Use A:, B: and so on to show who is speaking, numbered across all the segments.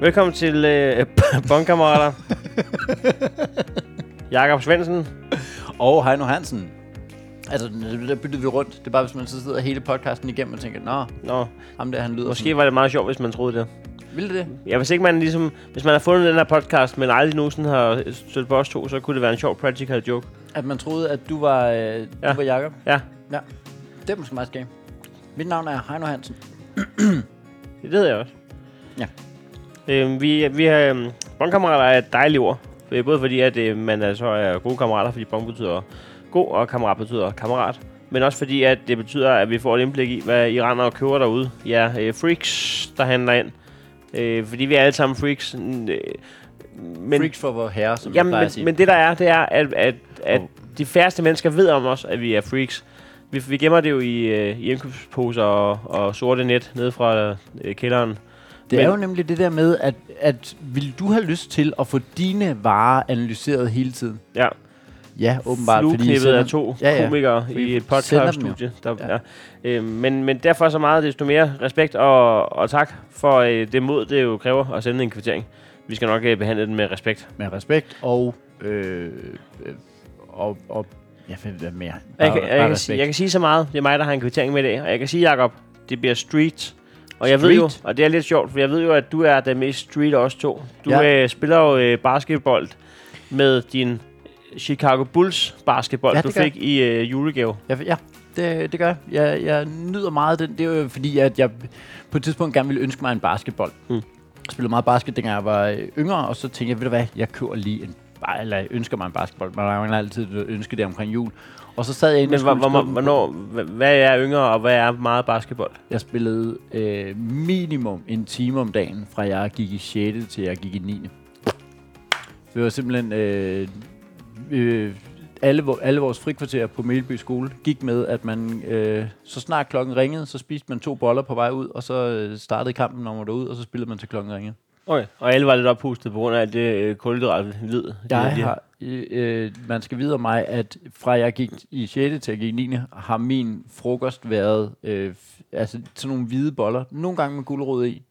A: Velkommen til øh, Bonkammerater. Jakob Svendsen.
B: Og Heino Hansen. Altså, det- der byttede vi rundt. Det er bare, hvis man så sidder hele podcasten igennem og tænker, nå,
A: Nå,
B: ham der, han lyder
A: måske var det meget sjovt, hvis man troede det.
B: Sådan. Vil det det?
A: Ja, hvis ikke man ligesom... Hvis man har fundet den her podcast, men aldrig nogensinde har stødt på os to, så kunne det være en sjov practical joke.
B: At man troede, at du var, øh, du
A: Ja.
B: var Jacob?
A: Ja,
B: Ja. Det er måske meget skæmt. Mit navn er Heino Hansen.
A: det hedder jeg også.
B: Ja.
A: Øh, vi, vi har... Øh, bonkammerater er et dejligt ord. Øh, Både fordi, at øh, man er, så er gode kammerater, fordi bon betyder god, og kammerat betyder kammerat. Men også fordi, at det betyder, at vi får et indblik i, hvad I render og køber derude. Ja, øh, freaks, der handler ind. Øh, fordi vi er alle sammen freaks. n- Øh, men,
B: Men, Freaks for vor herre, som jeg
A: Jamen,
B: plejer at sige.
A: men, men det der er, det er, at, at, at
B: Og-
A: de færreste mennesker ved om os, at vi er freaks. Vi, vi gemmer det jo i, øh, i indkøbsposer og, og sorte net nede fra øh, kælderen.
B: det er
A: men-
B: jo nemlig det der med, at, at vil du have lyst til at få dine varer analyseret hele tiden?
A: Ja,
B: Ja, åbenbart. fordi I
A: Flueknippet
B: sender-
A: af to
B: Ja, ja.
A: komikere
B: Fordi
A: i et
B: vi sender dem jo.
A: podcaststudie. Der, ja.
B: Ja.
A: Ja. Øh, men, men derfor så meget desto mere respekt og, og tak for øh, det mod, det jo kræver at sende en kvittering. Vi skal nok øh, behandle den med respekt.
B: Med respekt og... Øh, øh, og, og jeg ved hvad mere.
A: Jeg,
B: Bare,
A: kan, jeg,
B: bare
A: kan, sige,
B: respekt.
A: jeg kan sige så meget. Det er mig, der har en kvittering med i dag. Og jeg kan sige, Jacob, det bliver street. Og jeg ved jo,
B: Street?
A: og det er lidt sjovt, for jeg ved jo, at du er den mest street af os to. Du
B: Ja.
A: ja. øh, spiller jo øh, basketball med din Chicago Bulls basketball,
B: Ja,
A: ja,
B: det
A: du
B: gør
A: fik i øh, julegave.
B: Jeg, ja, det, det gør jeg. jeg. Jeg nyder meget den. Det er jo fordi, at jeg på et tidspunkt gerne ville ønske mig en basketball. Mm.
A: Mm.
B: Jeg spillede meget basket, dengang jeg var øh, yngre, og så tænkte jeg, ved du hvad, jeg køber lige en ba- eller jeg ønsker mig en basketball. Man har jo altid ønsket det omkring jul. Og så sad jeg inde
A: Men
B: og skulle
A: hvor, hvor,
B: slå den.
A: hvornår, hva- hvad er yngre, og hvad er meget basketball?
B: Jeg spillede øh, minimum en time om dagen, fra jeg gik i 6. til jeg gik i 9. Det var simpelthen... Øh, øh, alle, vo- alle vores frikvarterer på Melby skole gik med, at man øh, så snart klokken ringede, så spiste man to boller på vej ud, og så øh, startede kampen, når man var derude, og så spillede man til klokken ringede.
A: Okay. Og alle var lidt oppustet på grund af alt det øh, kulhydrat lid. de havde
B: Jeg
A: lige-
B: har, øh, øh, man skal vide om mig, at fra jeg gik i 6. til jeg gik i 9. har min frokost været øh, f- altså sådan nogle hvide boller. Nogle gange med gulerod i,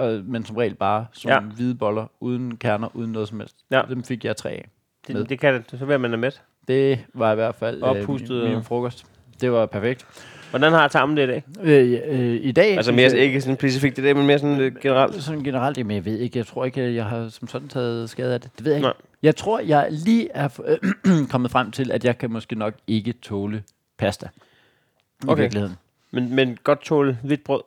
B: øh, men som regel bare som ja.
A: Ja.
B: hvide boller, uden kerner, uden noget som helst.
A: Ja.
B: Dem fik jeg tre af. med.
A: det, det kan det. Så bliver man da med.
B: Det var i hvert fald øh, min,
A: Oppustet og-
B: min frokost. Det var perfekt.
A: Hvordan har tarmen det i dag?
B: Øh, øh, I dag...
A: Altså
B: synes
A: mere
B: jeg-
A: ikke sådan specifikt det der, men mere sådan øh, generelt.
B: Sådan generelt, jamen jeg ved ikke, jeg tror ikke, jeg har som sådan taget skade af det. Det ved jeg ikke.
A: Nej.
B: Jeg tror, jeg lige er f- kommet frem til, at jeg kan måske nok ikke tåle pasta. I
A: Okay.
B: virkeligheden.
A: Men, men godt tåle hvidt brød.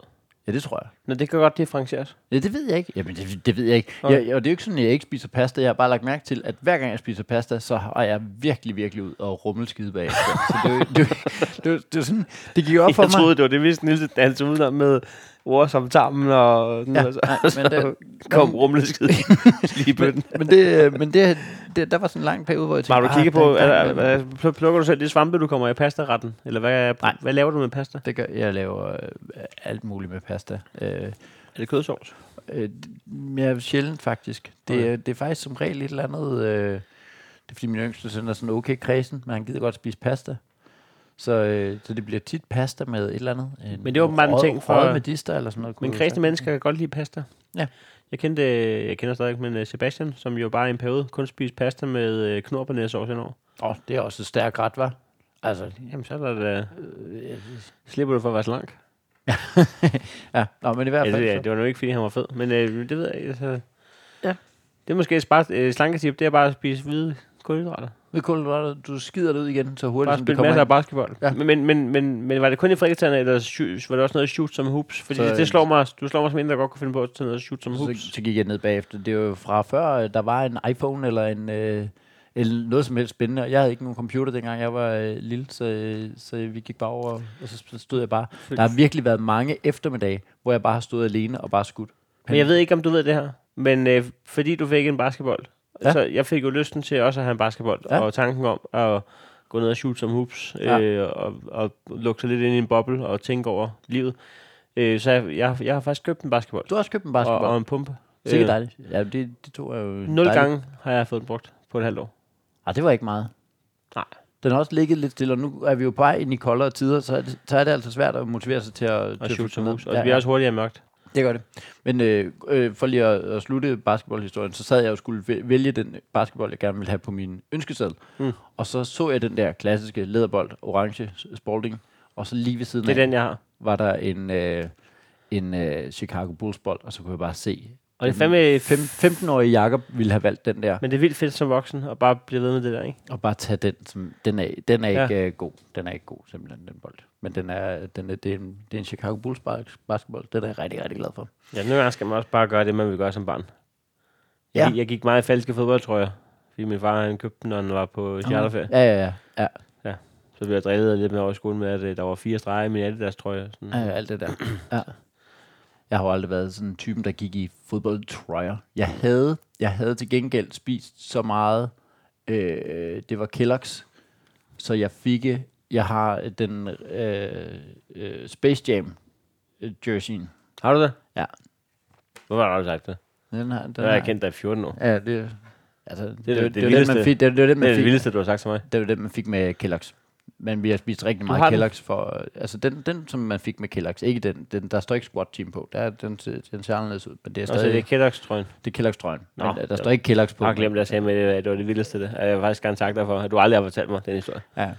B: Ja, det tror jeg.
A: Nå, det kan godt differentieres.
B: Ja, det ved jeg ikke. Jamen, det, det ved jeg ikke.
A: Okay.
B: Jeg, og det er jo ikke sådan, at jeg ikke spiser pasta. Jeg har bare lagt mærke til, at hver gang jeg spiser pasta, så har jeg virkelig, virkelig ud og rummelskide bag. Så det er jo- det er jo- det er jo- det er jo sådan, det gik op for
A: Jeg
B: mig.
A: troede, det var det, hvis Nielsen dansede udenom med ord som tarmen og sådan
B: Ja,
A: noget. Så,
B: nej, men
A: men så
B: det-
A: kom rumleskid lige i bøtten.
B: Men det, øh, men det, det, der var sådan en lang periode, hvor jeg tænkte...
A: Har du
B: "Ah,
A: kigget
B: der-
A: på,
B: der-
A: er,
B: der-
A: er, er, pl- plukker du selv de svampe, du kommer i pastaretten? Eller hvad,
B: Nej.
A: hvad laver du med pasta?
B: Det gør, jeg laver øh, alt muligt med pasta. Øh,
A: Er det kødsovs?
B: øh, mere sjældent faktisk. Det,
A: Okay.
B: okay. det er faktisk som regel et eller andet... Øh, det er fordi min yngste søn er sådan okay kredsen, men han gider godt spise pasta. Så, øh, så det bliver tit pasta med et eller andet. Øh,
A: Men det er åbenbart en
B: røget-
A: ting for-
B: røget medister eller sådan noget.
A: Men
B: kunne
A: kredsende
B: sagtens-
A: mennesker kan godt lide pasta.
B: Ja.
A: Jeg kendte, jeg kender stadig, men øh, Sebastian, som jo bare i en periode kun spiste pasta med øh, knorpernæssovs indover.
B: Åh, oh, det er også et stærk ret, var. Altså,
A: Jamen, så er der da...
B: Øh,
A: Slipper du for at være slank?
B: ja, Nå, men i hvert
A: Ja,
B: fald...
A: det,
B: så-
A: ja, det var nu ikke, fordi han var fed, men øh, det ved jeg ikke. Altså,
B: Ja.
A: Det er måske et spart, øh, slanketip, det er bare at spise hvide kulhydrater.
B: Ved kulhydrater, du skider det ud igen, så hurtigt
A: Bare
B: som det
A: spille
B: kommer
A: masser af
B: ind.
A: basketball.
B: Ja.
A: Ja. Men, men, men, men, men, var det kun i frikvartererne, eller shoot, var det også noget shoot som hoops? Fordi
B: Så- øh,
A: så, det slår mig, du slår mig som en, der godt kunne finde på at tage noget shoot som
B: Så,
A: hoops.
B: så gik jeg ned bagefter. Det var jo fra før, øh, der var en iPhone eller en øh, eller noget som helst spændende. Og Jeg havde ikke nogen computer dengang, jeg var øh, lille, så, øh, så vi gik bare over, og så sp- stod jeg bare. Der har virkelig været mange eftermiddage, hvor jeg bare har stået alene og bare skudt.
A: Men jeg ved ikke, om du ved det her, men øh, fordi du fik en basketball,
B: Ja.
A: ja. så jeg fik jo lysten til også at have en basketball,
B: Ja.
A: ja. og tanken om at gå ned og shoot som hoops, øh,
B: Ja.
A: og, og lukke sig lidt ind i en boble og tænke over livet. Øh, så jeg, jeg, jeg har faktisk købt en basketball.
B: Du har også købt en
A: og,
B: basketball.
A: og en pumpe.
B: Sikkert dejligt. Ja, det, det tog jeg jo...
A: Nul
B: dejligt.
A: gange har jeg fået den brugt på et halvt år.
B: Ah, det var ikke meget.
A: Nej.
B: Den har også ligget lidt stille, og nu er vi jo på vej ind i koldere tider, så er det, så er det altså svært at motivere sig til at... til
A: Og
B: at
A: shoot
B: flytte
A: som
B: ned.
A: hus. Og det bliver også hurtigere mørkt.
B: Det gør det. Men øh, øh, for lige at, at slutte basketballhistorien, så sad jeg og skulle væ- vælge den basketball, jeg gerne ville have på min ønskeseddel.
A: Mm.
B: Og så så jeg den der klassiske læderbold, orange Spalding, og så lige ved siden
A: Det er
B: af
A: den, jeg har.
B: var der en, øh, en øh, Chicago Bulls bold, og så kunne jeg bare se.
A: Og det er fandme...
B: Fem, 15-årige Jakob ville have valgt den der,
A: Men det er vildt fedt som voksen at bare blive ved med det der, ikke?
B: og bare tage den. Som, den er, den er
A: Ja.
B: ikke øh, god. Den er ikke god, simpelthen, den bold. Men den er, den er, det, er en, det er en Chicago Bulls bas- basketball. Den er jeg rigtig, rigtig glad for.
A: Ja, nogle gange skal man også bare gøre det, man vil gøre som barn. Jeg,
B: Ja.
A: ja. jeg gik meget i falske fodboldtrøjer, fordi min far han købte den, når han var på charterferie.
B: Ja, ja, ja. ja.
A: Så blev jeg drillet lidt med over i skolen med, at øh, der var fire streger i min Adidas trøje. Sådan.
B: Ja, ja, alt det der. Ja. Jeg har jo aldrig været sådan en type, der gik i fodboldtrøjer. Jeg havde, jeg havde til gengæld spist så meget, øh, det var Kellogg's, så jeg fik, øh, jeg har den øh, øh, Space Jam øh, jerseyen.
A: Har du det?
B: Ja.
A: Hvorfor har du sagt det?
B: Den her, den
A: Det har jeg
B: her.
A: kendt dig i 14 år.
B: Ja, det, altså, det,
A: det
B: det, var- det, var det,
A: vildeste.
B: man fik, det, var- det, var
A: Det
B: det,
A: er
B: man
A: det
B: fik,
A: vildeste, du har sagt til mig.
B: det var det, man fik med Kellogg's. Men vi har spist rigtig
A: har
B: meget
A: den?
B: Kellogg's for... øh, Altså den, den, som man fik med Kellogg's, ikke den. den der står ikke squat team på. Der, er- den, ser- den ser anderledes ud, men det er
A: Og så er
B: stadig...
A: det Kellogg's-trøjen.
B: Det er Kellogg's trøjen.
A: Nå,
B: Nå, men, øh, der
A: det-
B: står ikke Kellogg's på.
A: Ah, Jeg har glemt, at jeg sagde med det, at det var det vildeste. Det. Og Jeg vil faktisk gerne takke dig for, at du aldrig har fortalt mig den historie.
B: Ja.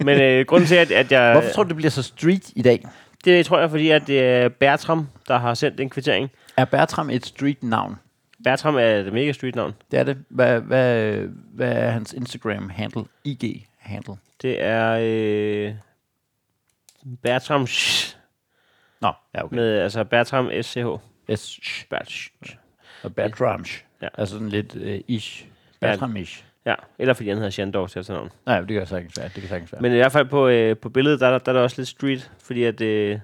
A: Men øh, grunden til, at, at jeg...
B: Hvorfor tror du, det bliver så street i dag?
A: Det tror jeg, fordi at det er Bertram, der har sendt en kvittering.
B: Er Bertram et street-navn?
A: Bertram er et mega street navn.
B: Det er det. Hvad, hvad, hvad er hans Instagram-handle? IG-handle?
A: Det er øh, Bertram Sch,
B: Nå, ja, okay.
A: med altså Bertram SCH.
B: S sh,
A: Bert Sch.
B: og Bertram.
A: Ja.
B: Ja. Altså sådan lidt uh, ish.
A: Ja.
B: Bertram-ish.
A: Ja, eller fordi han hedder Shandor til efternavn.
B: Nej, det kan sagtens være. Det kan sagtens være. Men,
A: Men i hvert fald på, øh, på billedet, der, er der, der er der også lidt street, fordi at, øh,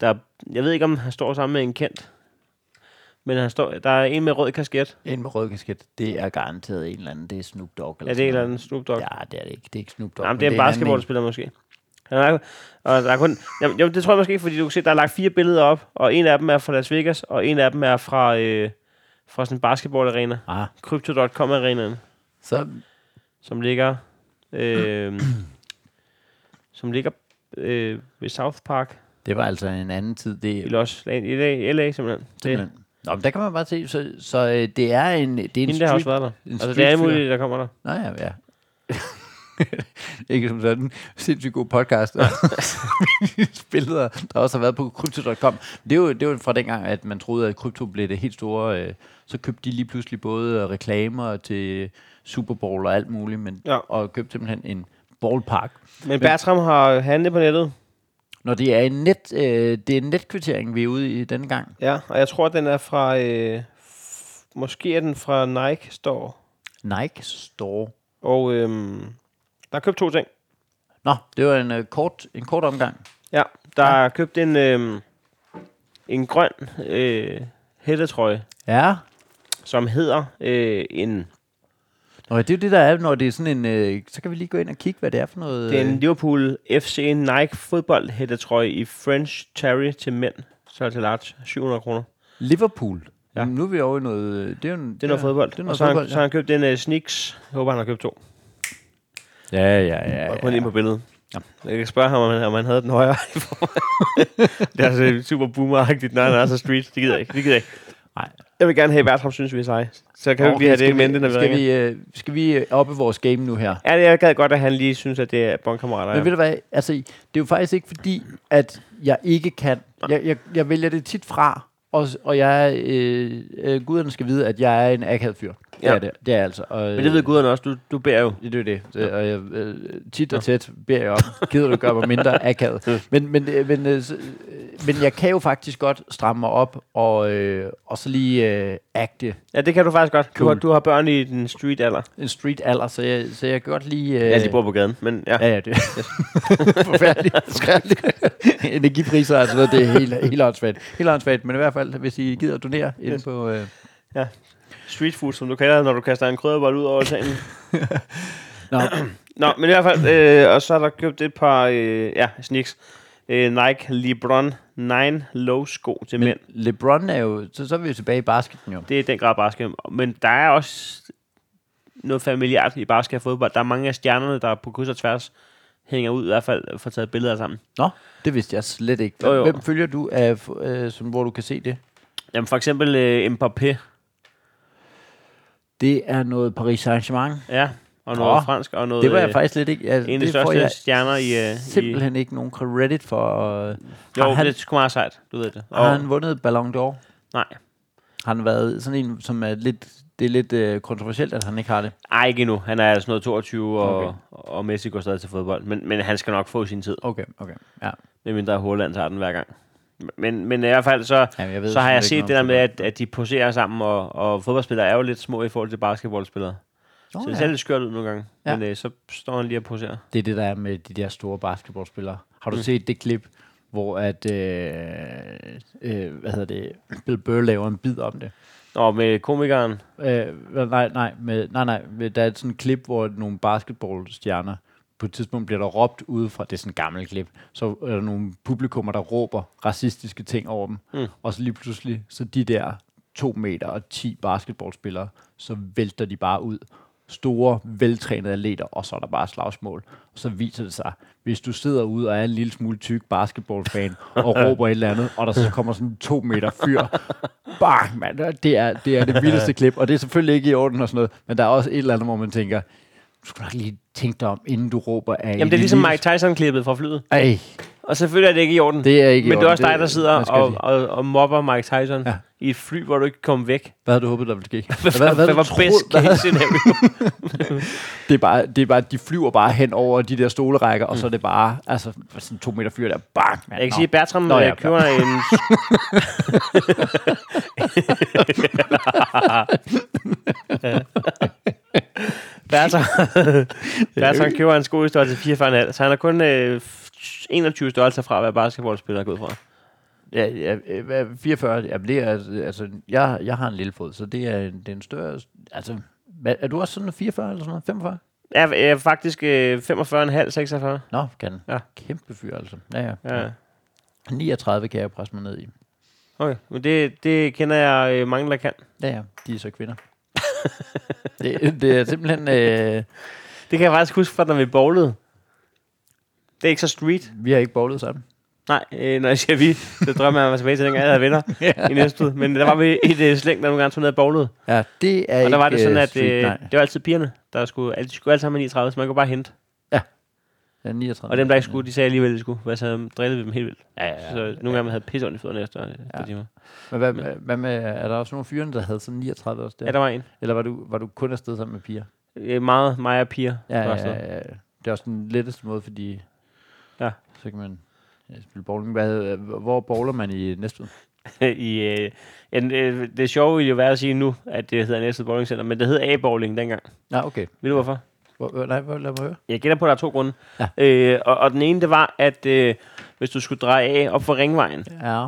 A: der, jeg ved ikke, om han står sammen med en kendt, men han står, der er en med rød kasket.
B: en med rød kasket, det er garanteret en eller anden. Det er Snoop Dogg.
A: Er det
B: sådan
A: en eller
B: noget.
A: anden Snoop Dogg? Ja,
B: Ja, det er det ikke. Det er ikke Snoop Dogg.
A: Jamen,
B: men
A: det er en
B: anden en.
A: basketballspiller måske. Han er, og der er kun, jamen, jo, det tror jeg måske, fordi du kan se, der er lagt fire billeder op, og en af dem er fra Las Vegas, og en af dem er fra, øh, fra sådan en basketballarena.
B: Ah,
A: Crypto.com arenaen,
B: så
A: som ligger, øh, som ligger øh, ved South Park
B: det var altså en anden tid. Det
A: i Los i LA, LA simpelthen. Det,
B: Simpelthen. Nå, men der kan man bare se, så, så øh, det er en, det er en
A: hende der har
B: street...
A: også været der.
B: en
A: Altså, det
B: street
A: er alle
B: fyr.
A: mulige, der kommer der.
B: Nå ja, ja. ikke som sådan. Sindssygt god podcast. Og billeder, der også har været på Crypto.com. Det er jo, det er jo fra dengang, at man troede, at krypto blev det helt store. Øh, så købte de lige pludselig både øh, reklamer til Super Bowl og alt muligt, men,
A: Ja.
B: og købte simpelthen en ballpark.
A: Men Bertram har handlet på nettet.
B: Når det er en, net, øh, det er en netkvittering, vi er ude i denne gang.
A: Ja, og jeg tror, den er fra... Øh, f- måske er den fra Nike Store.
B: Nike Store.
A: Og øhm, der er købt to ting.
B: Nå, det var en, øh, kort, en kort omgang.
A: Ja, der ja. er købt en, øhm, en grøn øh, hættetrøje,
B: Ja,
A: som hedder øh, en...
B: Nå, det er jo det, der er, når det er sådan en... Øh, så kan vi lige gå ind og kigge, hvad det er for noget...
A: Det er en
B: øh,
A: Liverpool FC Nike fodboldhættetrøje i French Terry til mænd. Så til large. 700 kroner.
B: Liverpool.
A: Ja.
B: Ja. Nu er vi over i noget... øh, Det er, jo en,
A: Det er noget fodbold.
B: Det er
A: og
B: noget
A: så har, han,
B: fodbold,
A: så har han købt en uh, Sneaks. Jeg håber, han har købt to.
B: ja. ja, ja, ja.
A: Ja, og
B: ja,
A: kun
B: ja.
A: en på billedet. Ja.
B: Ja.
A: Jeg kan spørge ham, om han, om han havde den højere. i forvejen. det er altså super boomeragtigt, når han er så street. Det gider jeg ikke. Det gider jeg ikke.
B: Nej.
A: Jeg vil gerne have, at Bertram synes, vi er seje. Så kan vi
B: Okay,
A: ikke lige have det i mente,
B: skal vi-
A: når vi
B: skal
A: ringer.
B: vi, øh, skal vi øh, oppe vores game nu her?
A: Ja, det- jeg gad godt, at han lige synes, at det er bondkammerater.
B: Men
A: Ja.
B: ved du hvad? Altså, det er jo faktisk ikke fordi, at jeg ikke kan. Jeg, jeg, jeg vælger det tit fra, og, s- og jeg... er, Øh, øh, guderne skal vide, at jeg er en akavet fyr. Det
A: Ja.
B: ja. er det, det er jeg altså. Og,
A: Men det ved guderne også. Du, du bærer jo.
B: Det er jo det. det og jeg, øh, tit og tæt beder jeg om, gider du gøre mig mindre akavet. Men, men, øh, men, øh, så, øh, men jeg kan jo faktisk godt stramme mig op og, øh, og så lige øh, agte
A: Ja, det kan du faktisk godt. Du,
B: Cool.
A: har, du har børn i den street alder.
B: en street alder, så jeg, så jeg kan godt lige... Øh,
A: Ja, de bor på gaden. Men ja.
B: Ja, ja, det er forfærdeligt. Skrækkeligt. Energipriser og sådan noget, det er helt, helt åndssvagt. Helt åndssvagt, men i hvert fald, hvis I gider at donere ind
A: Yes.
B: på... Øh,
A: Street food, som du kalder det, når du kaster en krydderbold ud over altanen.
B: Nå.
A: Nå, men i hvert fald, øh, og så er der købt et par, øh, ja, sneaks. Øh, Nike LeBron 9 low sko til mænd.
B: men LeBron er jo... Så, så er vi jo tilbage i basketen jo.
A: Det er i den grad basket. Men der er også noget familiært i basket og fodbold. Der er mange af stjernerne, der er på kryds og tværs hænger ud i hvert fald og får taget billeder sammen.
B: Nå, det vidste jeg slet ikke.
A: Jo, jo.
B: Hvem følger du, af, øh, som, hvor du kan se det?
A: Jamen for eksempel øh, Mbappé,
B: Det er noget Paris Saint-Germain.
A: ja, og noget
B: Åh,
A: fransk, og noget...
B: Det var jeg
A: øh,
B: faktisk slet ikke. Altså,
A: en af de
B: det får
A: største
B: jeg
A: stjerner i, øh, i-
B: simpelthen ikke nogen credit for. Øh, har
A: Jo,
B: han,
A: det er sgu meget sejt, du ved det.
B: har han vundet Ballon d'Or?
A: Nej,
B: Har han været sådan en, som er lidt, det er lidt øh, kontroversielt, at han ikke har det?
A: ej ikke endnu. Han er sådan noget 22, og,
B: Okay.
A: okay. og Messi går stadig til fodbold. Men, men han skal nok få sin tid,
B: Okay, okay. Ja.
A: medmindre Håland tager den hver gang. Men, men i hvert fald så,
B: Jamen, jeg
A: så har
B: simpelthen
A: jeg
B: ikke
A: set
B: noget
A: det der
B: om
A: med, at, at de poserer sammen, og, og fodboldspillere er jo lidt små i forhold til basketballspillere.
B: Nå,
A: Oh, så det
B: ja.
A: ser lidt skørt ud nogle gange.
B: Ja.
A: Ja. Men øh, så står han lige og poserer.
B: Det er det, der er med de der store basketballspillere. Har du mm. set det klip, hvor at, øh, øh, hvad hedder det, Bill Burr laver en bid om det?
A: Og med komikeren.
B: Øh, hvad- nej, nej, med, nej, nej, med, der er sådan et klip, hvor nogle basketballstjerner, på et tidspunkt bliver der råbt udefra, det er sådan et gammelt klip, så er der nogle publikummer, der råber racistiske ting over dem, mm. og så lige pludselig, så de der to meter og 10 basketballspillere, så vælter de bare ud. Store, veltrænede atleter, og så er der bare slagsmål. Og så viser det sig, hvis du sidder ude og er en lille smule tyk basketballfan, og råber et eller andet, og der så kommer sådan en to meter fyr, bang, mand, det er, det er det vildeste klip, og det er selvfølgelig ikke i orden og sådan noget, men der er også et eller andet, hvor man tænker, du skulle nok lige tænke dig om, inden du råber af.
A: Jamen det er ligesom Mike Tyson-klippet fra flyet.
B: Ej,
A: Og selvfølgelig er det ikke i orden.
B: det er ikke i
A: men det
B: orden.
A: er også dig, der sidder
B: man skal
A: og,
B: sige.
A: og, og mobber Mike Tyson
B: Ja.
A: ja. i et fly, hvor du ikke kom væk.
B: Hvad havde du håbet, der ville ske? Hvad,
A: Hvad
B: havde du
A: var
B: troet,
A: best
B: der-
A: case scenario?
B: Det er, bare, det er bare, de flyver bare hen over de der stolerækker, og så er det bare, altså, sådan to meter fyr der, bang, mand.
A: Mm. Jeg kan
B: Nå.
A: sige, at Bertram
B: Nå,
A: Nå,
B: ja,
A: ja, køber en... Bertram, Bertram køber en sko i størrelse 44,5, så han er kun øh, 21 størrelser fra at være basketballspiller gået fra.
B: Ja, ja, øh, hvad- 44, jamen det er, altså, jeg, jeg har en lille fod, så det er, det er en større, altså, hvad, er du også sådan en 44 eller sådan noget, 45?
A: Jeg er øh, faktisk øh, 45,5, 46.
B: Nå, kan
A: Ja.
B: Kæmpe fyr, altså. Ja, ja.
A: Ja.
B: 39 kan jeg presse mig ned i.
A: Okay, men det, det kender jeg øh, mange, der kan.
B: Ja, ja. De er så kvinder. det, det er simpelthen... Øh,
A: Det kan jeg faktisk huske fra, når vi bowlede. Det er ikke så street.
B: vi har ikke bowlet sammen.
A: Nej, øh, når jeg siger vi, så drømmer jeg mig tilbage til dengang, jeg havde venner i Næstved. Men der var vi et øh, slæng, der nogle gange tog ned og bowlede.
B: Ja, det er
A: Og der var det
B: ikke,
A: sådan,
B: øh,
A: at
B: street,
A: øh,
B: nej.
A: det var altid pigerne, der skulle, alle, de skulle alle sammen have 39, så man kunne bare hente.
B: Ja, 39.
A: Og dem, der ikke skulle, de sagde alligevel, at de skulle. Men så drillede vi dem helt vildt.
B: Ja, ja, ja.
A: Så nogle gange man havde pisse ondt i fødderne efter øh, et par
B: Ja.
A: timer.
B: Men hvad, med- hvad med, er der også nogle fyre, der havde sådan 39 også der?
A: Ja, der var en.
B: Eller var du, var du kun afsted sammen med piger?
A: Øh, meget mig og piger.
B: Ja,
A: var
B: ja,
A: afsted.
B: ja, ja. Det er også den letteste måde, fordi...
A: Ja.
B: Så kan man ja, spille bowling. Hvad, øh, hvor bowler man i Næstved?
A: I, øh, en, øh, det sjove ville jo være at sige nu, at det hedder Næstved Bowling Center, men det hed A-bowling dengang.
B: Nej, okay.
A: Ved du hvorfor?
B: Hvor, øh, nej, hvor- lad mig høre.
A: Jeg gætter på, at der er to grunde.
B: Ja.
A: Øh, og, og den ene, det var, at øh, hvis du skulle dreje af op for ringvejen,
B: Ja.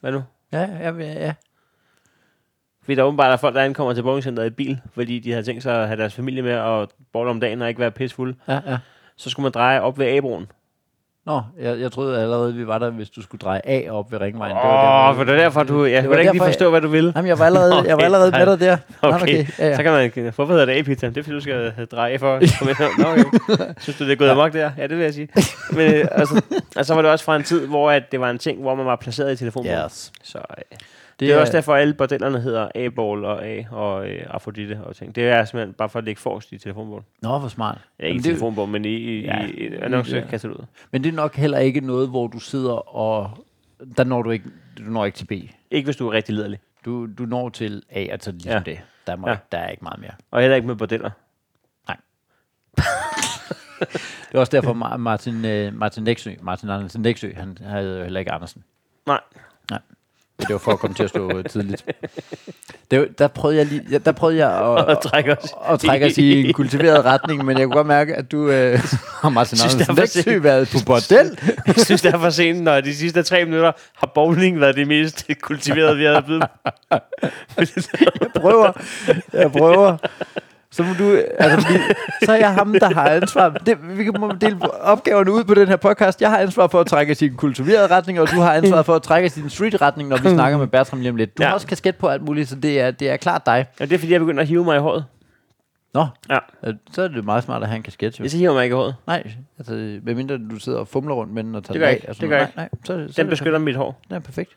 A: hvad nu?
B: Ja, ja, ja. ja.
A: Fordi der åbenbart er folk, der ankommer til bowlingcenteret i bil, fordi de havde tænkt sig at have deres familie med og bowle om dagen og ikke være pissfulde.
B: ja, ja.
A: Så skulle man dreje op ved A-broen.
B: Nå, jeg, jeg troede allerede, vi var der, hvis du skulle dreje af op ved ringvejen.
A: Åh, oh, for
B: hvor-
A: det var derfor, du... Jeg
B: var
A: kunne da ikke lige
B: derfor,
A: forstå, hvad du ville.
B: Jamen, jeg var allerede, okay. jeg var
A: Okay,
B: allerede med
A: nej.
B: dig der. Nå,
A: Okay, okay.
B: Ja, ja.
A: så kan man... Hvorfor hedder det A-pizza? Det er, fordi du skal øh, dreje for. Kom ind. Nå, okay. Synes du, det er gået amok der? Ja, det vil jeg sige. Men, øh, og, så, og så var det også fra en tid, hvor at det var en ting, hvor man var placeret i telefonbogen.
B: Yes.
A: Så øh,
B: Det,
A: det er også derfor, at alle bordellerne hedder A-ball og A og øh, Afrodite og ting. Det er simpelthen bare for at ligge forrest i telefonbogen.
B: Nå, hvor smart.
A: Ja, ikke i
B: Jamen, det,
A: telefonbogen, men i, i,
B: Ja,
A: ja, i, i annoncekataloget.
B: men det er nok heller ikke noget, hvor du sidder og... Der når du ikke, du når ikke til B.
A: Ikke hvis du er rigtig lederlig.
B: Du, du når til A, altså ligesom ja.
A: Ja.
B: det. Der, må, ja.
A: Ja.
B: der er ikke meget mere.
A: Og heller ikke med bordeller.
B: Det er også derfor, Ma- Martin, øh, Martin Nexø, Martin Andersen Nexø, han havde jo heller ikke Andersen.
A: Nej.
B: Nej. Men Det var for at komme til at stå øh, tidligt. Det var, der prøvede jeg lige, ja, der prøvede jeg at,
A: Og trække os.
B: og trækker os i en kultiveret retning, men jeg kunne godt mærke, at du øh, har Martin
A: Synes,
B: Andersen
A: der var
B: Læksø været på bordel.
A: Jeg synes, det er for sent, når de sidste tre minutter har bowling været det mest kultiverede, vi har blevet.
B: Jeg prøver, jeg prøver. Så må du, altså, vi, så er jeg ham, der har ansvar. Det, vi kan må dele opgaverne ud på den her podcast. Jeg har ansvar for at trække os i en kultiveret retning, og du har ansvar for at trække os i en street retning, når vi snakker med Bertram lige om lidt. Du
A: Hmm.
B: ja.
A: Ja.
B: har også kasket på alt muligt, så det er, det er klart dig.
A: Og det er, fordi jeg begynder at hive mig i håret.
B: Nå,
A: Ja.
B: øh, så er det meget smart at have en kasket, jo.
A: Jeg så hiver man ikke i håret.
B: Nej, altså, medmindre du sidder og fumler rundt med den og tager
A: Det gør
B: den
A: jeg
B: af.
A: ikke.
B: og sådan
A: Det
B: noget.
A: gør jeg
B: nej, nej, så, så er
A: Den
B: det
A: beskytter mit hår.
B: perfekt. Den er perfekt.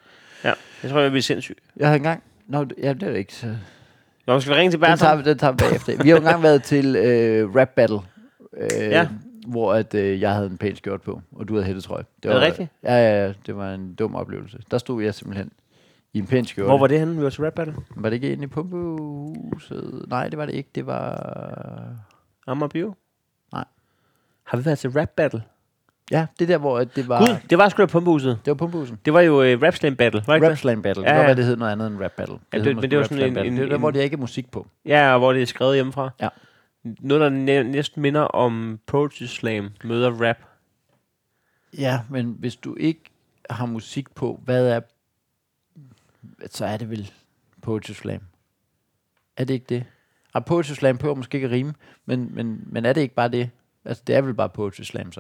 A: Jeg tror, jeg bliver sindssyg.
B: Jeg havde engang... Nå, det- ja, det er ikke så...
A: Nå, skal vi ringe til
B: Den tager,
A: Bertram?
B: vi, den tager vi bagefter. Vi har jo engang været til øh, rap battle. Øh,
A: Ja.
B: Hvor at, øh, jeg havde en pæn skjort på, og du havde hættetrøje.
A: Er det rigtigt?
B: Ja, ja, ja, det var en dum oplevelse. Der stod jeg simpelthen i en pæn skjorte.
A: Hvor var det henne, vi var til rap battle?
B: Var det ikke inde i pumpehuset? Nej, det var det ikke. Det var...
A: Amager Bio?
B: Nej.
A: Har vi været til rap battle?
B: Ja, det der, hvor at det var...
A: Gud, det var sgu da pumpehuset.
B: Det var pumpehuset.
A: Det var jo uh, rap slam battle, var det ikke
B: Rap
A: det?
B: Slam Battle.
A: Ja,
B: Ja, det
A: ja.
B: var, hvad det hed noget andet end Rap Battle.
A: det-
B: hed
A: men
B: måske
A: det var
B: Rap
A: sådan
B: Slam
A: en-
B: Battle.
A: en-
B: Det var der,
A: en-
B: hvor der ikke er musik på.
A: Ja, og hvor det er skrevet hjemmefra.
B: Ja.
A: Noget, der næ- næsten minder om Poetry Slam møder rap.
B: Ja, men hvis du ikke har musik på, hvad er... Så er det vel Poetry Slam. Er det ikke det? Ah, Poetry Slam behøver måske ikke at rime, men, men, men er det ikke bare det? Altså, det er vel bare Poetry Slam, så?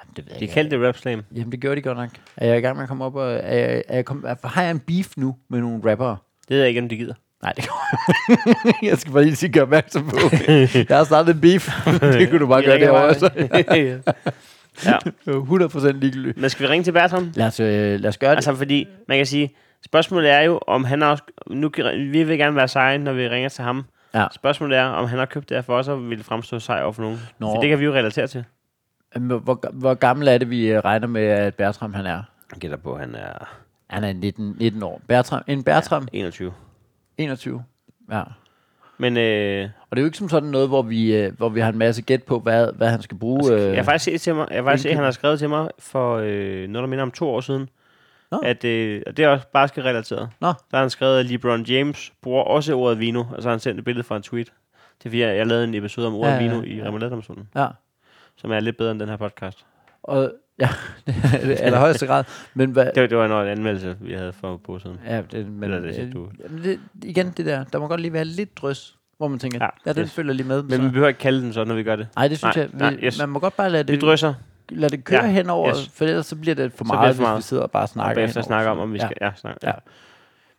B: Jamen, det ved jeg
A: De
B: ikke.
A: kaldte det rap slam.
B: Jamen, det gjorde de godt nok. Er jeg i gang med at komme op og... Er jeg, er jeg kom, er, har jeg en beef nu med nogle rappere?
A: Det ved jeg ikke, om de gider.
B: Nej, det går Jeg skal bare lige sige, gøre opmærksom på. Jeg har startet en beef. det kunne du bare
A: De
B: gøre
A: ringer
B: derovre.
A: bare.
B: Så.
A: ja.
B: 100% ligegyldigt.
A: Men skal vi ringe til Bertram?
B: Lad os, øh, lad os gøre det.
A: Altså, fordi man kan sige, spørgsmålet er jo, om han også... Nu, kan- vi vil gerne være seje, når vi ringer til ham.
B: Ja.
A: Spørgsmålet er, om han har købt det her for os, og vil fremstå sej over for nogen.
B: Nå.
A: For det kan vi jo relatere til.
B: Jamen, Hvor, hvor gammel er det, vi øh, regner med, at Bertram han er?
A: Jeg gætter på, at han er
B: Han er 19, 19 år. Bertram, en Bertram,
A: 21.
B: 21. Ja.
A: Men øh,
B: Og det er jo ikke som sådan noget, hvor vi, øh, hvor vi har en masse gæt på, hvad, hvad han skal bruge.
A: øh, jeg har
B: øh,
A: faktisk set til mig, jeg har faktisk set,
B: hvilken-
A: han har skrevet til mig for øh, noget, der minder om to år siden.
B: Nå.
A: At, øh, og det er også bare skal relateret.
B: Nå.
A: Der har han skrevet, at LeBron James bruger også ordet vino, og så har han sendt et billede fra en tweet. Det er fordi, jeg, jeg lavede en episode om ordet
B: Ja,
A: ja,
B: ja,
A: vino i
B: ja.
A: Remoladedomstolen,
B: Ja.
A: som er lidt bedre end den her podcast.
B: Og, ja, det er allerhøjeste grad. Men hvad,
A: Det, var- det var en en anmeldelse, vi havde for på siden.
B: Ja, det, men,
A: Eller det siger
B: øh,
A: du.
B: jamen, det, igen det der, der må godt lige være lidt drøs, hvor man tænker,
A: Ja,
B: ja, ja den
A: yes.
B: følger lige med.
A: Men vi
B: Men,
A: behøver ikke kalde den så, når vi gør det.
B: Nej, det synes
A: nej,
B: jeg, vi,
A: nej, yes.
B: man må godt bare lade
A: Vi
B: det,
A: drysser,
B: lade det køre
A: Ja,
B: ja, henover,
A: yes.
B: yes. for ellers så bliver det for
A: Så bliver
B: meget,
A: det for meget.
B: hvis vi sidder og bare
A: og
B: snakker
A: bagefter
B: henover.
A: snakker om, om vi
B: Ja.
A: skal... Ja, snak, ja.
B: Ja.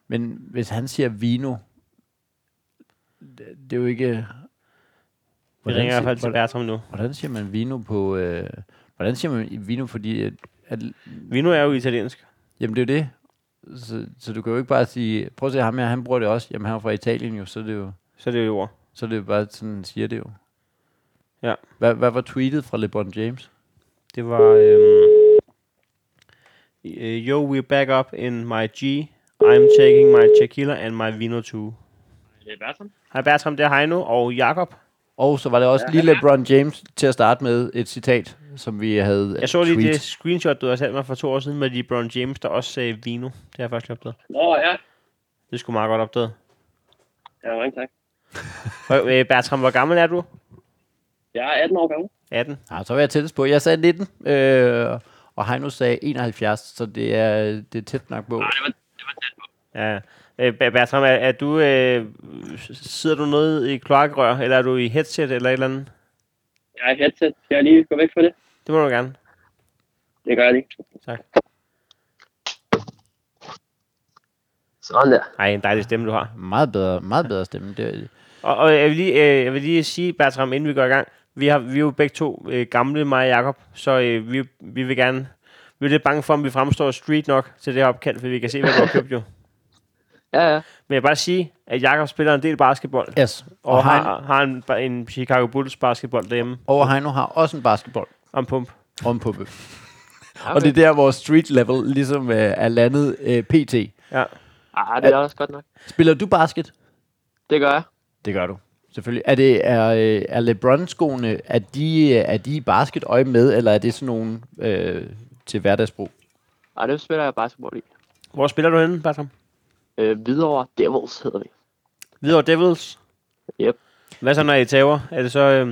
B: Men hvis han siger vino, det, det er jo ikke...
A: Vi ringer i hvert fald til
B: hvordan,
A: Bertram nu.
B: hvordan siger man vino på... Øh, hvordan siger man vino, fordi... At, at,
A: Vino er jo italiensk.
B: jamen, det er jo det. Så, så du kan jo ikke bare sige... Prøv at se ham her, han bruger det også. Jamen, han er fra Italien jo, så er det jo...
A: Så er det jo ord.
B: Så er det jo bare sådan, siger det jo.
A: Ja.
B: Hvad, hvad var tweetet fra LeBron James?
A: Det var... Øhm, øh, Yo, we're back up in my G. I'm taking my tequila and my vino too.
C: Det er Bertram.
A: Hej Bertram, det er Heino og Jakob.
B: Og så var det også ja, lige LeBron James til at starte med et citat, som vi havde
A: Jeg så lige
B: tweet.
A: det screenshot, du har sendt mig for to år siden med LeBron James, der også sagde vino. Det har jeg faktisk opdaget.
C: Nå ja,
A: Det skulle meget godt opdaget.
C: ja mange tak.
A: Og, øh, Bertram, hvor gammel er du?
C: Jeg er 18 år gammel.
A: 18.
B: Ja, så var jeg tættest på. Jeg sagde 19, øh, og Heino sagde 71, så det er, det er tæt nok på.
C: det var, det var tæt på.
A: Ja. Øh, Ber- Bertram, er, er du, øh, sidder du noget i kloakrør, eller er du i headset eller et eller andet?
C: Jeg er i headset. Skal jeg lige gå væk fra det?
A: Det må du gerne.
C: Det gør jeg lige.
A: Tak.
C: Sådan der.
A: Ej, en dejlig stemme, du har.
B: Meget bedre, meget bedre stemme. Det,
A: Og, og jeg, vil lige, øh, jeg vil lige sige, Bertram, inden vi går i gang, vi, har, vi er jo begge to øh, gamle, mig og Jacob, så øh, vi, vi vil gerne... Vi er lidt bange for, om vi fremstår street nok til det her opkald, for vi kan se, hvad du har købt jo.
C: Ja, ja.
A: Men jeg vil bare sige, at Jacob spiller en del basketball,
B: yes.
A: og,
B: Og, Heino,
A: har, har en, en Chicago Bulls basketball derhjemme
B: og Heino har også en basketball
A: om pump.
B: og en puppe. Og det er der, hvor street level ligesom øh, er landet øh, pt.
A: Ja.
C: Ah, det er også godt nok.
B: Spiller du basket?
C: Det gør jeg.
B: Det gør du. Selvfølgelig. Er, det, er, øh, er LeBron-skoene, er de, øh, er de i basketøje med, eller er det sådan nogle øh, til hverdagsbrug?
C: Ah, det spiller jeg basketball i.
A: Hvor spiller du henne, Bertram?
C: Øh, videre Devils hedder vi.
A: Hvidovre Devils?
C: Yep.
A: Hvad så, når I taber? Er det så... Øh,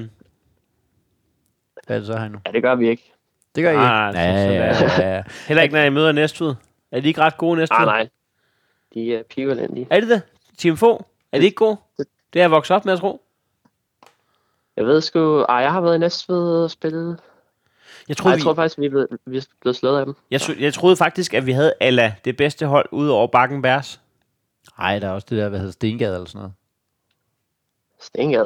B: Hvad er det så, Heino?
C: Ja, det gør vi ikke.
B: Det gør I
A: Ah,
B: ikke. Ja,
A: så-
B: ja, ja, ja.
A: heller ikke, når I møder Næstved? Er de ikke ret gode Næstved?
C: Ah, nej. De er pivelandige.
A: Er det det? Team Få? Er de ikke gode? Det er jeg vokset op med, jeg tror.
C: Jeg ved sgu... Ah, jeg har været i Næstved og spillet.
A: Jeg
C: Ej,
A: troede,
C: jeg tror faktisk, vi er blevet, vi er blevet slået af dem.
A: Jeg, tro, jeg troede faktisk, at vi havde Alla det bedste hold ud over Bakken Bærs.
B: Ej, der er også det der, hvad hedder Stengade eller sådan noget.
C: Stengad.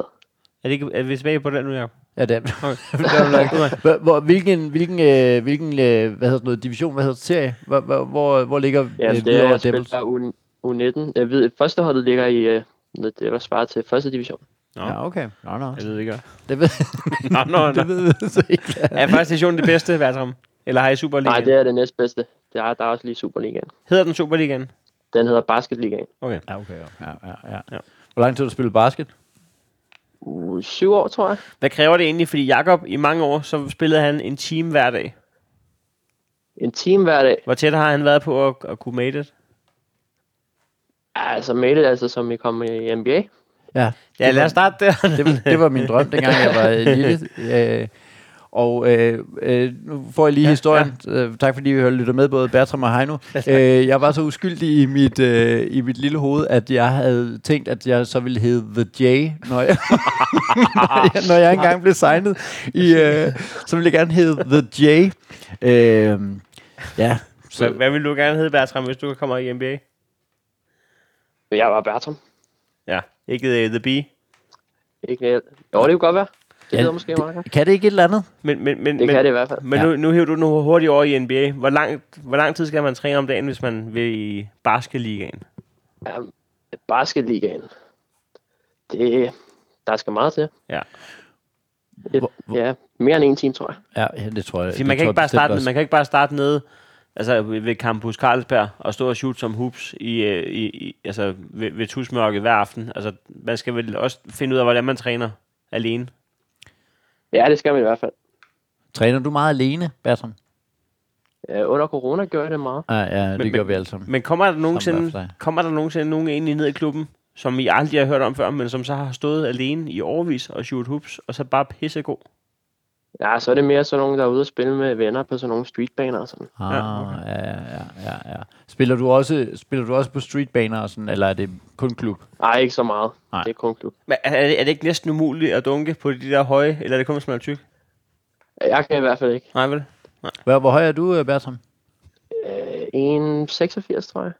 A: Er, det ikke, er vi tilbage på den nu, Jacob?
B: Ja, det er
A: Okay.
B: Hvor, hvor, hvilken, hvilken, øh, hvilken øh, hvad hedder sådan noget, division, hvad hedder det, serie? Hvor, hvor, hvor, hvor ligger
C: Ja,
B: øh,
C: det er,
B: Hvidovre
C: jeg
B: Devils?
C: spiller U- U19. Jeg ved, første holdet ligger i, øh, det det var svaret til første division.
A: Nå,
B: Ja, okay. Nå, nå.
A: jeg ved det ikke.
B: Det ved,
A: Nå, nå, nå.
B: det ved jeg så ikke.
A: Er første division det bedste, Bertram? Eller har I Superligaen?
C: Nej, det er det næstbedste. Der er, der er også lige Superligaen.
A: Hedder den Superligaen?
C: Den hedder Basketligaen.
B: Ja, okay. Ja, ja, ja.
A: Ja.
B: Hvor lang tid har du spillet basket?
C: Uh, syv år, tror jeg.
A: Hvad kræver det egentlig? Fordi Jakob i mange år, så spillede han en time hver dag.
C: En time hver dag.
A: Hvor tæt har han været på at, at kunne make it?
C: Ja, Altså made it, altså som vi kom i NBA.
B: Ja,
A: Ja, lad os starte der.
B: det, var- det var min drøm, dengang jeg var øh, lille. Øh, og øh, øh, nu får jeg lige ja, historien. Ja. Øh, tak fordi vi lytter med, både Bertram og Heino. Øh, jeg var så uskyldig i mit, øh, i mit lille hoved, at jeg havde tænkt, at jeg så ville hedde The J, når jeg, når jeg, når jeg engang blev signet. I, øh, så ville jeg gerne hedde The J. Øh, ja,
A: Hvad,
B: så,
A: hvad vil du gerne hedde, Bertram, hvis du kommer i NBA?
C: Men Jeg var Bertram.
A: Ja. Ikke uh, The Bee?
C: Ikke Niel. Jo, det kunne godt være. Det
B: Ja,
C: hedder måske meget godt.
B: kan det ikke et eller andet?
A: Men, men, men,
C: Det
A: men,
C: kan det i hvert fald.
A: men
B: Ja.
A: nu, nu hiver du nu hurtigt over i NBA. Hvor lang, hvor lang tid skal man træne om dagen, hvis man vil i basketligaen?
C: Ja, basketligaen. Det, der skal meget til.
A: Ja.
C: Et,
B: Hvor- hvor-
C: ja, mere end en time, tror jeg.
B: Ja, ja, det tror jeg.
A: Fordi
B: det
A: man kan,
B: tror
A: ikke
B: jeg
A: bare
B: bestemt
A: starte,
B: også.
A: man kan ikke bare starte nede altså ved ved Campus Carlsberg og stå og shoot som hoops i, øh, i, i altså ved, ved tusmørket hver aften. Altså, man skal vel også finde ud af, hvordan man træner alene.
C: Ja, det skal man i hvert fald.
B: Træner du meget alene, Bertram?
C: Ja, under corona gør jeg det meget.
B: Ja, ja, det
A: Men-
B: gør
A: men-
B: vi alle sammen.
A: Men kommer der
B: hver for
A: nogensinde,
B: sig.
A: kommer der nogensinde nogen egentlig ned i klubben, som I aldrig har hørt om før, men som så har stået alene i overvis og shoot hoops, og så bare pissegod?
C: Ja, så er det mere sådan nogen, der er ude og spille med venner på sådan nogle streetbaner og sådan.
B: Ah,
A: Ja,
B: ja, okay. ja, ja, ja, ja. Spiller du også, spiller du også på streetbaner og sådan, eller er det kun klub?
C: Nej, ikke så meget.
B: Nej.
C: Nej. Det er kun klub.
A: Men er, er, det, er det ikke næsten umuligt at dunke på de der høje, eller er det kun, hvis man er tyk?
C: Jeg kan i hvert fald ikke.
A: Nej, vel?
B: Hvor, hvor høj er du, øh, Bertram?
C: Øh, en 86, tror jeg.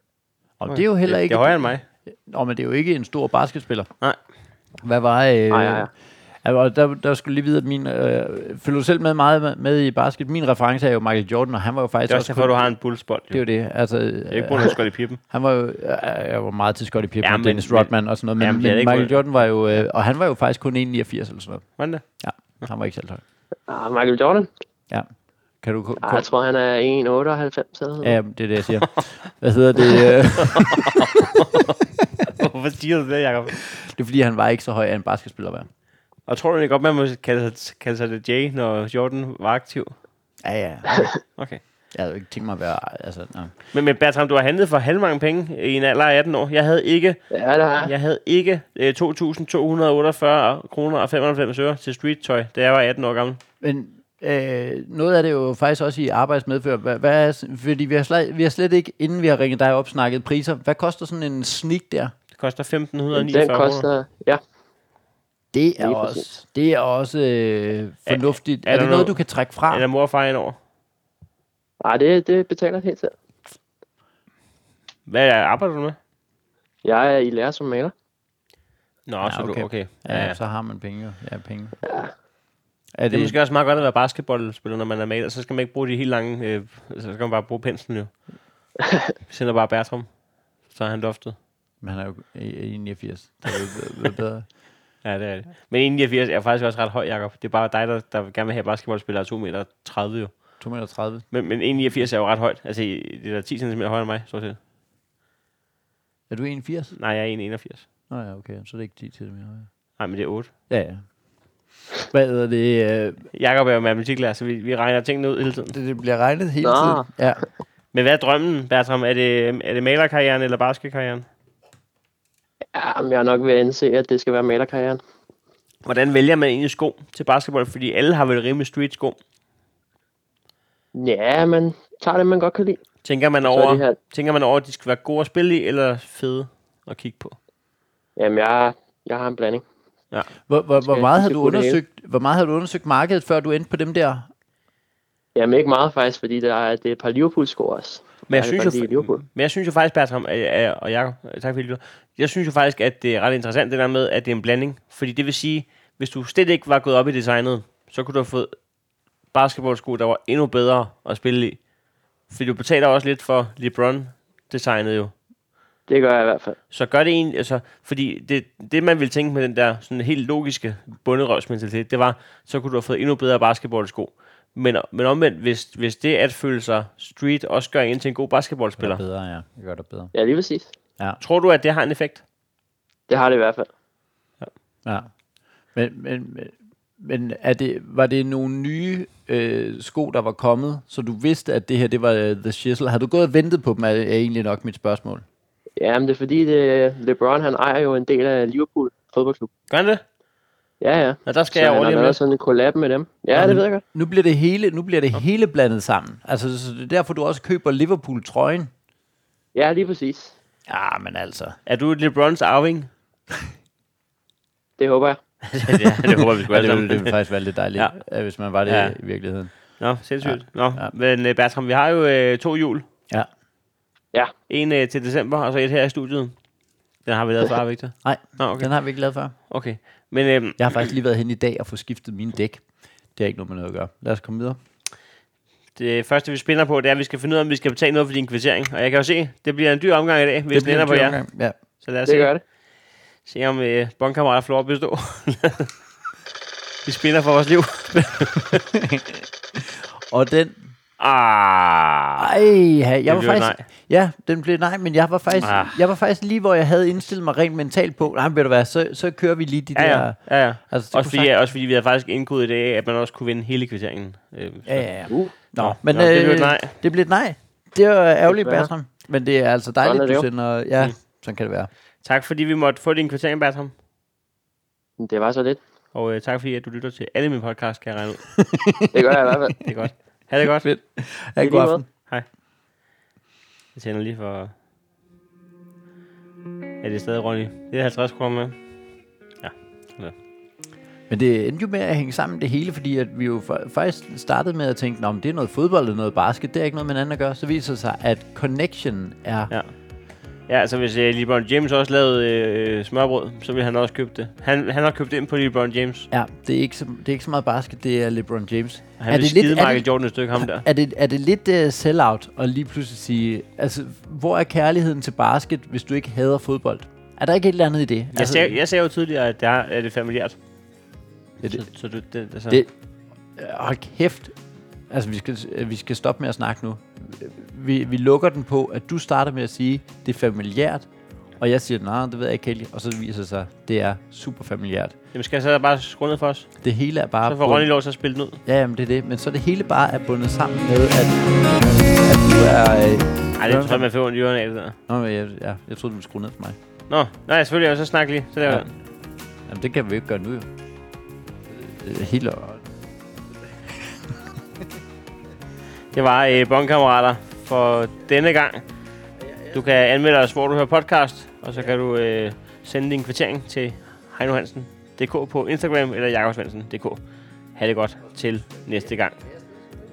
B: Og det er jo heller
A: det,
B: ikke...
A: Det er højere end mig.
B: Nå, men det er jo ikke en stor basketspiller.
A: Nej.
B: Hvad var... Øh,
C: Nej, nej, nej.
B: Altså, der, der skulle lige vide, at min... Øh, følger du selv med meget med- med i basket? Min reference er jo Michael Jordan, og han var jo faktisk
A: Det er også derfor,
B: kun-
A: du har en bullsbold.
B: Det er
A: Jo.
B: jo det. Altså,
A: Det er ikke
B: øh,
A: på, at skåret i pippen.
B: Han var jo øh, jeg var meget til Scottie Pippen
A: Ja,
B: ja,
A: men-
B: og Dennis Rodman og sådan noget, men,
A: Ja,
B: ja,
A: men
B: men
A: det er ikke
B: Michael
A: noget-
B: Jordan var jo, øh, og han var jo faktisk kun 1,89 eller sådan noget.
A: Hvordan det?
B: Ja, han var ikke særlig høj.
C: Ah, Michael Jordan?
B: Ja. Kan du... Ko-
C: Ah, jeg
B: ko-
C: tror, han er 1,98 eller sådan noget.
B: ja, det er det, jeg siger. Hvad hedder det? øh,
A: Hvorfor siger du det, Jacob?
B: det er fordi, han var ikke så høj af en basketspiller, var.
A: Og tror du ikke godt, man må kalde, sig- kalde sig det Jay, når Jordan var aktiv?
B: Ja, ja.
A: Okay.
B: Jeg havde jo ikke tænkt mig at være... Altså, nej.
A: Men, men Bertram, du har handlet for halvmange penge i en alder af 18 år. Jeg havde ikke,
C: Ja, der er.
A: jeg havde ikke øh, 2.248 kroner og 95 øre til street-tøj, da jeg var 18 år gammel.
B: Men øh, noget af det er jo faktisk også i arbejdsmedfør. Hvad, hvad er, fordi vi har, slet, vi har slet ikke, inden vi har ringet dig op, snakket priser. Hvad koster sådan en sneak der?
A: Det koster 1.549
C: Den
A: kroner.
C: koster... Ja,
B: Det er
C: Lige
B: også,
C: præcis.
B: det er også øh, fornuftigt.
A: er
B: Er,
A: der
B: det
A: noget-
B: noget, du kan trække fra?
A: Eller mor og far ind over.
C: ah, det, det betaler helt selv.
A: Hvad arbejder du med?
C: Jeg er i lære som maler.
A: Nå,
B: Ja,
A: så
B: okay.
A: du, okay.
B: Ja, ja, så har man penge. jo. Ja, penge. Ja. Er
A: Det er
B: det,
A: måske også meget godt at være basketballspiller, når man er maler. Så skal man ikke bruge de helt lange... Øh, så skal man bare bruge penslen jo. Vi sender bare Bertram. Så er han loftet.
B: men han er jo i- i 89. Det er jo bedre- bedre.
A: Ja, det er det. Men 81 er faktisk også ret høj, Jacob. Det er bare dig, der, der gerne vil have basketballspillere 2 meter 30 jo.
B: 2,30 meter.
A: Men, men 81 er jo ret højt. Altså, det er da 10 cm højere end mig, stort set.
B: Er du 81?
A: Nej, jeg er 81.
B: Nå ja, okay. Så er det ikke 10 cm højere.
A: Nej, men det er 8.
B: Ja, ja. Hvad hedder det? øh,
A: Jakob er jo matematiklærer, så vi, vi regner tingene ud hele tiden.
B: Det, det bliver regnet hele
C: Nå.
B: tiden. Ja.
A: Men hvad er drømmen, Bertram? Er det, er det malerkarrieren eller basketkarrieren?
C: Ja, men jeg er nok ved at indse, at det skal være malerkarrieren.
A: Hvordan vælger man egentlig sko til basketball? Fordi alle har vel rimelig street sko.
C: Ja, man tager det, man godt kan lide.
A: Tænker man,
C: Så er det
A: over,
C: her...
A: tænker man over, at de skal være gode at spille i, eller fede at kigge på?
C: Jamen, jeg, jeg har en blanding.
B: Hvor, hvor, hvor,
C: Skal-
B: meget havde
C: skal
B: du
C: kunne det hele.
B: undersøgt, hvor meget havde du undersøgt markedet, før du endte på dem der?
C: Jamen, ikke meget faktisk, fordi der er, det er et par Liverpool-sko også.
A: Men jeg, synes jo,
C: lige Liverpool.
A: men jeg synes jo faktisk, Bertram øh, øh, og Jacob, øh, tak fordi I lytter. jeg synes jo faktisk, at det er ret interessant det der med, at det er en blanding. Fordi det vil sige, hvis du slet ikke var gået op i designet, så kunne du have fået basketballsko, der var endnu bedre at spille i. Fordi du betaler også lidt for LeBron-designet jo.
C: Det gør jeg i hvert fald.
A: Så gør det egentlig, altså, fordi det, det man ville tænke med den der sådan helt logiske bunderøvsmentalitet, det var, så kunne du have fået endnu bedre basketballsko. Men, men omvendt, hvis, hvis det at føle sig street også gør en til en god
B: Spiller.
A: basketballspiller,
B: bedre, ja. Det gør det bedre.
C: Ja, lige præcis.
A: tror du, at det har en effekt?
C: Det har det i hvert fald.
B: Ja. Men, men, men- men er det, var det nogle nye øh, sko, der var kommet, så du vidste, at det her det var øh, The Shizzle? Har du gået og ventet på dem, er, er egentlig nok mit spørgsmål.
C: Ja, men det er fordi, det, LeBron han ejer jo en del af Liverpool fodboldklub.
A: Gør han det?
C: Ja, ja.
A: Nå, der skal
C: Så altså-
A: jeg
C: han
A: over
C: har
A: lige om
C: lavet
A: lidt.
C: sådan en collab med dem. Ja, det ved jeg godt.
B: Nu bliver det hele, nu bliver det hele blandet sammen. Altså, så det er derfor, du også køber Liverpool-trøjen.
C: Ja, lige præcis.
B: Ja, men altså.
A: Er du LeBrons arving?
C: Det håber jeg.
A: ja, det håber vi sgu
B: Ja,
A: alle
B: det,
A: sammen.
B: ville, det ville faktisk være lidt dejligt, ja. hvis man var det
A: Ja.
B: ja. i virkeligheden.
A: Nå, sindssygt. Nå,
B: Ja.
A: men øh, Bertram, vi har jo øh, to jul.
B: Ja.
C: Ja.
A: En øh, til december, og så et her i studiet. Den har vi lavet før, Victor.
B: Nej,
A: Nå, okay.
B: den har vi ikke lavet før.
A: okay. Men øh,
B: Jeg har faktisk lige været hen i dag og få skiftet mine dæk. Det er ikke noget med noget at gøre. Lad os komme videre.
A: det første, vi spænder på, det er, at vi skal finde ud af, om vi skal betale noget for din kvittering. Og jeg kan jo se, det bliver en dyr omgang i dag, hvis det ender
B: bliver en
A: på
B: dyr
A: jer.
B: omgang. Ja.
A: Så lad os
C: Det
A: se,
C: gør det.
A: se, om øh, bondkammerater får lov at bestå. vi spænder for vores liv.
B: Og den
A: ah,
B: Ej, jeg var
A: blev et
B: faktisk...
A: nej.
B: Ja, den blev et nej, men jeg var faktisk,
A: Ah.
B: ah. jeg var faktisk lige, hvor jeg havde indstillet mig rent mentalt på. Nej, men ved du hvad, så, så kører vi lige de
A: ja,
B: der...
A: ja. ja, ja.
B: Altså,
A: Også
B: det kunne
A: fordi,
B: sagt-
A: også fordi vi havde faktisk indkodet i dag, at man også kunne vinde hele kvitteringen. Øh, så-
B: ja, ja, ja.
C: Uh,
B: Nå,
A: Nå,
B: men
A: nå, det blev et
B: øh,
A: nej.
B: Det blev et nej. Det var ærgerligt,
C: Desværre.
B: Bertram. Men det er altså
C: Sådan er
B: dejligt,
C: det
B: du
C: jo.
B: sender... Ja,
A: Mm.
B: sådan kan det være.
A: Tak fordi vi måtte få din kvittering, Bertram.
C: det var så lidt.
A: Og øh, tak fordi at du lytter til alle mine podcasts, kan jeg regne ud.
C: Det gør jeg i hvert fald.
A: Det er godt. Ha' det godt.
B: Fedt. Ha' en
C: lige
B: god
C: måde.
B: aften.
A: Jeg tænder lige for... Ja, det er stadig Ronny. Det er 50 kroner med.
B: Men det endte jo med at hænge sammen det hele, fordi at vi jo fa- faktisk startede med at tænke, Nå, men det er noget fodbold eller noget basket, det er ikke noget med hinanden at gøre. Så viser det sig, at connection er...
A: Ja. Ja, altså hvis øh, LeBron James også lavede øh, smørbrød, så ville han også købe det. Han, han har købt ind på LeBron James.
B: Ja, det er, ikke så, det er ikke så meget basket, det er LeBron James.
A: Han
B: er,
A: ville
B: det
A: skide
B: lidt, er,
A: Michael
B: det,
A: Jordan et stykke ham der.
B: er, det, er det lidt uh, sell-out at lige pludselig sige, altså, hvor er kærligheden til basket, hvis du ikke hader fodbold? Er der ikke et eller andet i det?
A: Jeg
B: altså,
A: sagde, jeg sagde jo tidligere, at det er, er det familiært.
B: Ja, det-
A: så, så det, det, altså.
B: det, Øh, hold kæft. Altså, vi skal, vi skal stoppe med at snakke nu. Vi, vi lukker den på, at du starter med at sige, det er familiært, og jeg siger, nej, det ved jeg ikke helt, og så viser det sig, det er super familiært.
A: Jamen skal jeg så bare skrue ned for os?
B: Det hele er bare...
A: Så får Ronny lov til at spille den ud.
B: Ja, jamen, det er det. Men så er det hele bare er bundet sammen med, at, at du er... Øh,
A: Ej, det tror jeg, man får ondt i ørerne af det der.
B: Nå, men jeg, ja, jeg troede, du ville skrue ned for mig.
A: Nå, nej, selvfølgelig, og så snak lige. Så der.
B: Ja. Jamen, det kan vi jo ikke gøre nu, jo. Øh, Helt og...
A: Det var øh, Bonkammerater for denne gang. Du kan anmelde os, hvor du hører podcast, og så kan du øh, sende din kvittering til Heino Hansen DK på Instagram eller Jakob Svendsen DK. Ha' det godt til næste gang.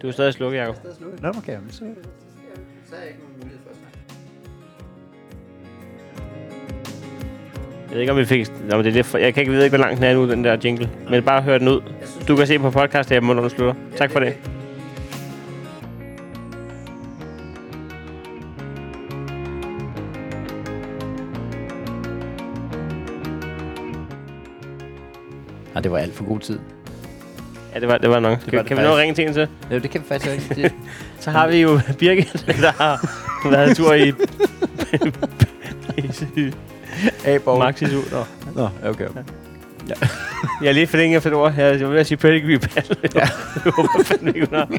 A: Du er stadig slukket, Jakob.
B: Nå, okay, jamen, så...
A: Jeg ved ikke, om vi fik... Nå, men det er lidt for... Jeg kan ikke vide, hvor langt den er nu, den der jingle. Men bare hør den ud. Du kan se på podcast, der når du slutter. Tak for det.
B: Nej, det var alt for god tid.
A: Ja, det var, det var nok.
B: var
A: Kan,
B: det
A: kan vi nå at
B: faktisk.
A: ringe til en til?
B: Ja, det kan vi faktisk ikke. Det,
A: Så har vi jo Birgit, der har været en tur i... i
B: A-borg.
A: Maxis ud. Nå.
B: Nå, ja, okay.
A: Jeg er lige forlænget efter et ord. Jeg var ved at sige pedigree battle. Ja. jeg håber fandme ikke, hun har.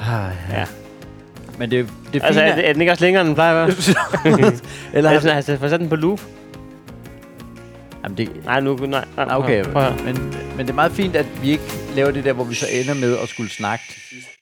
B: Ah,
A: Ja.
B: ja. Men det, det
A: Altså, er,
B: fine er...
A: det- er den ikke også længere, end den plejer at være?
B: Eller
A: Altså,
B: altså,
A: altså, for sådan på loop?
B: jamen, det,
A: Nej, nu... Nej, nej,
B: Ah, okay,
A: prøv at høre.
B: men, men det er meget fint, at vi ikke laver det der, hvor vi så ender med at skulle snakke